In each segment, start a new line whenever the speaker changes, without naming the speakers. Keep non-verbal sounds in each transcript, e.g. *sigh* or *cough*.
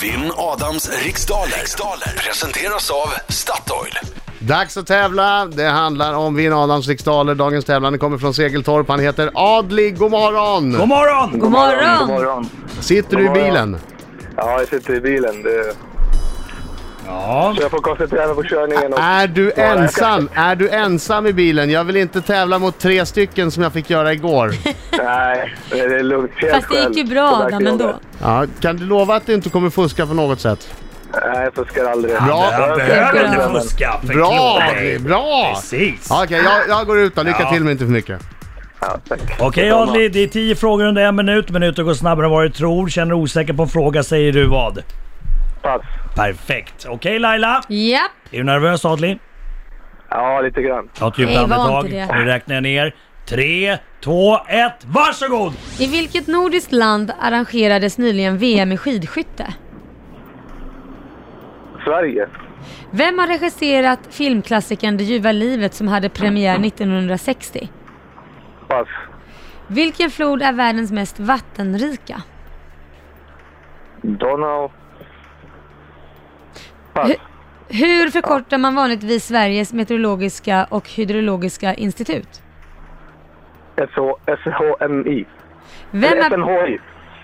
Vinn Adams riksdaler. riksdaler presenteras av Statoil.
Dags att tävla! Det handlar om Vinn Adams riksdaler. Dagens tävlande kommer från Segeltorp. Han heter Adlig. God morgon!
God morgon!
God
God
morgon!
morgon.
Sitter du i
God morgon.
bilen?
Ja, jag sitter i bilen. Det...
Ja.
Så jag får koncentrera mig på körningen. Och...
Ah.
Är du
jag kan-
ensam? Är du ensam i bilen? Jag vill inte tävla mot tre stycken som jag fick göra igår.
Nej, det är lugnt. Helt
Fast det gick ju
själv.
bra
På väg
Adam
till
ändå.
jobbet.
Ja, kan du lova att du inte kommer fuska på något sätt?
Nej, jag fuskar aldrig.
Bra.
Jag behöver inte
Bra.
fuska. Förklå
Bra
dig.
Adlig! Bra!
Precis.
Ja, Okej, jag, jag går ut då. Lycka
Ja.
till men inte för mycket.
Ja, tack.
Okej
Detsamma.
Adli, det är tio frågor under en minut. Minuter går snabbare än vad du tror. Känner du osäker på en fråga säger du vad?
Pass.
Perfekt. Okej Laila,
Japp!
är du nervös Adli?
Ja, lite grann.
Ta ett djupt
Nej, var
andetag.
inte det.
Nu räknar jag ner. Tre, två, ett, varsågod!
I vilket nordiskt land arrangerades nyligen VM i skidskytte?
Sverige.
Vem har regisserat filmklassikern Det ljuva livet som hade premiär 1960?
Pass.
Vilken flod är världens mest vattenrika?
Donau. Pass.
Hur förkortar man vanligtvis Sveriges meteorologiska och hydrologiska institut?
SH SHMI.
Vem
Eller
är,
SNHI.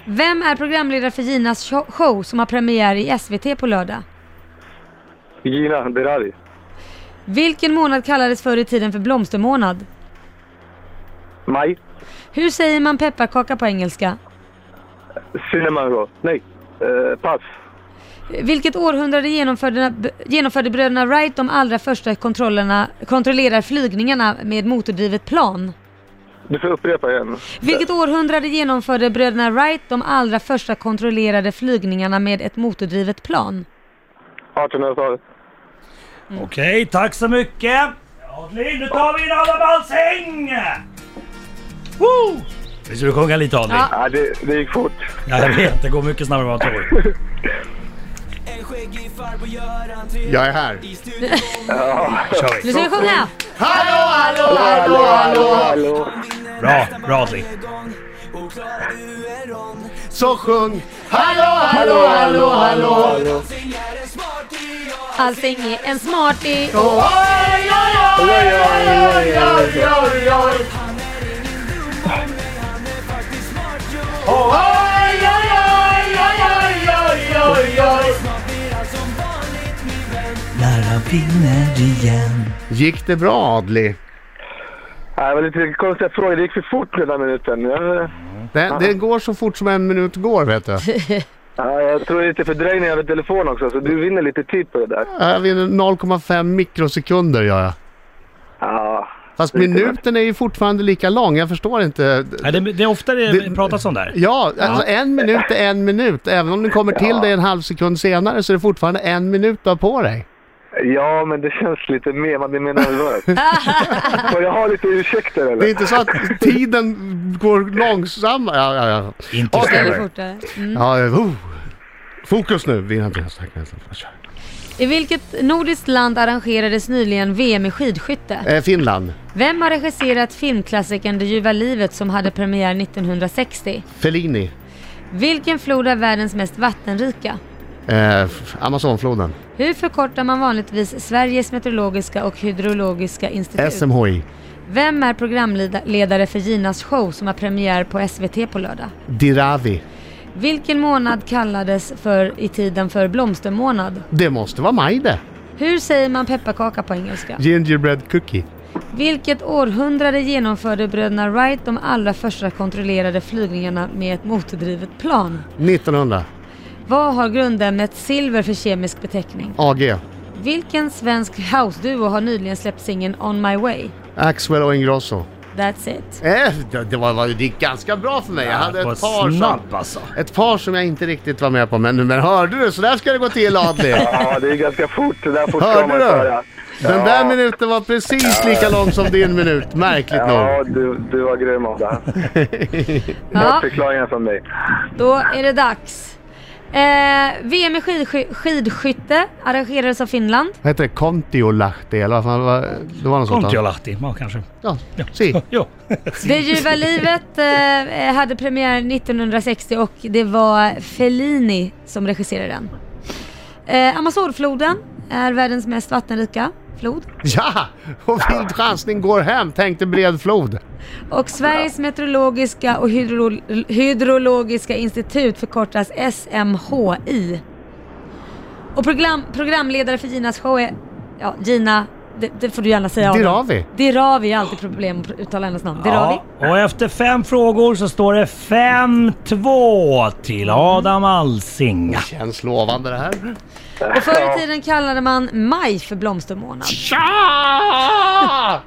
vem är programledare för Ginas sho- show som har premiär i SVT på lördag?
Gina Derari.
Vilken månad kallades förr i tiden för blomstermånad?
Maj.
Hur säger man pepparkaka på engelska?
Cinemango. Nej. Eh, pass.
Vilket århundrade genomförde, genomförde bröderna Wright de allra första kontrollerna, kontrollerar flygningarna med motordrivet plan?
Du får upprepa igen.
Vilket århundrade genomförde bröderna Wright de allra första kontrollerade flygningarna med ett motordrivet plan?
1800-talet.
Mm.
Okej, tack så mycket. Adli, nu tar vi in Adam Alsing! Woo! Vi skulle sjunga lite Adli.
Ja.
Ja, det, det gick fort.
Ja, jag vet, det går mycket snabbare än vad man tror.
En skäggig farbror gör entré
Jag är här.
i studion.
Kör
Nu
vi.
ska vi sjunga!
Hallå, hallå!
Hallå.
Han vinner
Bra,
nästan
bra, Adli.
varje gång. Och klarar du en rond.
Så sjung! Hallå, hallå, hallå, hallå!
Sing är en smarty, ja.
Allting är en smartie.
Han är ingen dummare, men han är faktiskt smart, jo. Snart blir han som vanligt min vän.
När han vinner igen.
Gick det bra Adli?
Ja, Det var lite konstiga frågor. Det gick för fort den här minuten. Jag,
Det, det går så fort som en minut går vet du.
ja, jag tror det är lite fördröjning över telefon också, så du vinner lite tid på det där.
Jag vinner 0,5 mikrosekunder gör jag.
Ja,
Fast
Lite
minuten är ju fortfarande lika lång, jag förstår inte.
Ja, det, det är ofta det,
Det-
pratas om där.
Ja, alltså en minut är en minut. Även om den kommer till dig en halv sekund senare så är det fortfarande en minut du har på dig.
ja men det känns lite mer. Man blir
*laughs*
mer nervös. Får jag ha lite ursäkter
Det är
eller?
inte så att tiden går långsammare. Ja, ja, ja.
Inte
Okej.
Eller
stämmer.
fortare.
ja oh. Fokus nu, vinner inte nästa
I vilket nordiskt land arrangerades nyligen VM i skidskytte?
eh, Finland.
Vem har regisserat filmklassikern Det ljuva livet som hade premiär 1960?
Fellini.
Vilken flod är världens mest vattenrika?
Eh, f- Amazonfloden.
Hur förkortar man vanligtvis Sveriges meteorologiska och hydrologiska institut?
SMHI.
Vem är programledare för Ginas show som har premiär på SVT på lördag?
Diravi.
Vilken månad kallades för i tiden för blomstermånad?
Det måste vara maj det.
Hur säger man pepparkaka på engelska?
Gingerbread cookie.
Vilket århundrade genomförde bröderna Wright de allra första kontrollerade flygningarna med ett motordrivet plan?
1900.
Vad har grundämnet silver för kemisk beteckning?
AG.
Vilken svensk house-duo har nyligen släppt singeln On My Way?
Axwell och Ingrosso.
That's it.
Eh, det, det, var, var- det gick ganska bra för mig. Jag hade
Vad
ett par som,
snabb alltså.
ett par som jag inte riktigt var med på. Men, men hörde du? Så där ska det gå till Adli.
Ja, det är ganska fort. Det där fort
Hörde
ska man
du?
föra.
Den där minuten var precis lika lång som din minut, märkligt nog.
Ja, du, du var grym Ada.
Ja,
Förklaringen från mig.
då är det dags. Eh, VM i skidsky- skidskytte arrangerades av Finland.
Vad heter det? Kontiolahti eller vad fan var det? var något sånt va?
Kontiolahti, ja kanske.
Ja, si. *laughs*
Jo.
Det ljuva livet eh, hade premiär 1960 och det var Fellini som regisserade den. Eh, Amazonfloden är världens mest vattenrika flod.
Ja! Och vild chansning går hem, tänkte bred flod.
Och Sveriges meteorologiska och hydrolo- hydrologiska institut förkortas SMHI. Och program, programledare för Ginas show är, ja Gina, det, det får du gärna säga av dig.
Dirawi.
Dirawi är alltid problem att uttala hennes namn. Dirawi.
Ja, och efter fem frågor så står det 5-2 till Adam Alsing.
Känns lovande det här.
Och förr i tiden kallade man maj för blomstermånad.
Tja!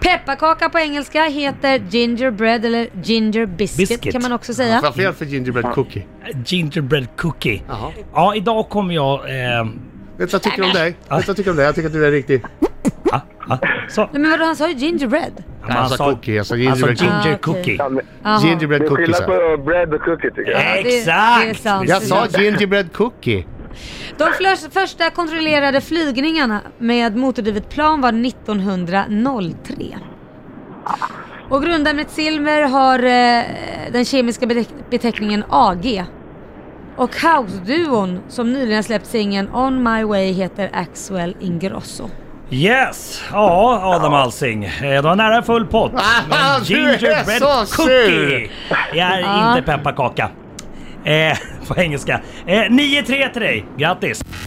Pepparkaka på engelska heter gingerbread eller ginger biscuit,
Biscuit.
kan man också säga.
Vad fel för gingerbread cookie.
Gingerbread cookie.
Jaha.
Ja, idag kommer jag... Eh,
Vet du vad jag tycker om dig? Vet du vad jag tycker om dig? Jag tycker att du är riktig...
ah, ah, så.
Nej men vadå, han sa ju gingerbread.
Nej, han sa Alltså, cookie, jag sa gingerbread
alltså ginger
Ah, okej.
cookie.
Ja, men
Jaha.
Det
Gingerbread
är
cookie
skillnad
sa jag.
på bread och cookie tycker jag.
det- det är
Exakt!
sant.
Jag sa gingerbread cookie.
De flers- första kontrollerade flygningarna med motordrivet plan var 1903. Och grundämnet silver har eh, den kemiska beteck- beteckningen AG. Och House-duon som nyligen släppt singeln On My Way heter Axwell Ingrosso.
Yes! Ja, Adam Alsing. Eh, Det var nära full pott.
Ah, du är så
gingerbread
sur.
Jag är *laughs*
Ja.
inte pepparkaka. Eh, på engelska. Eh, 9-3 till dig. Grattis!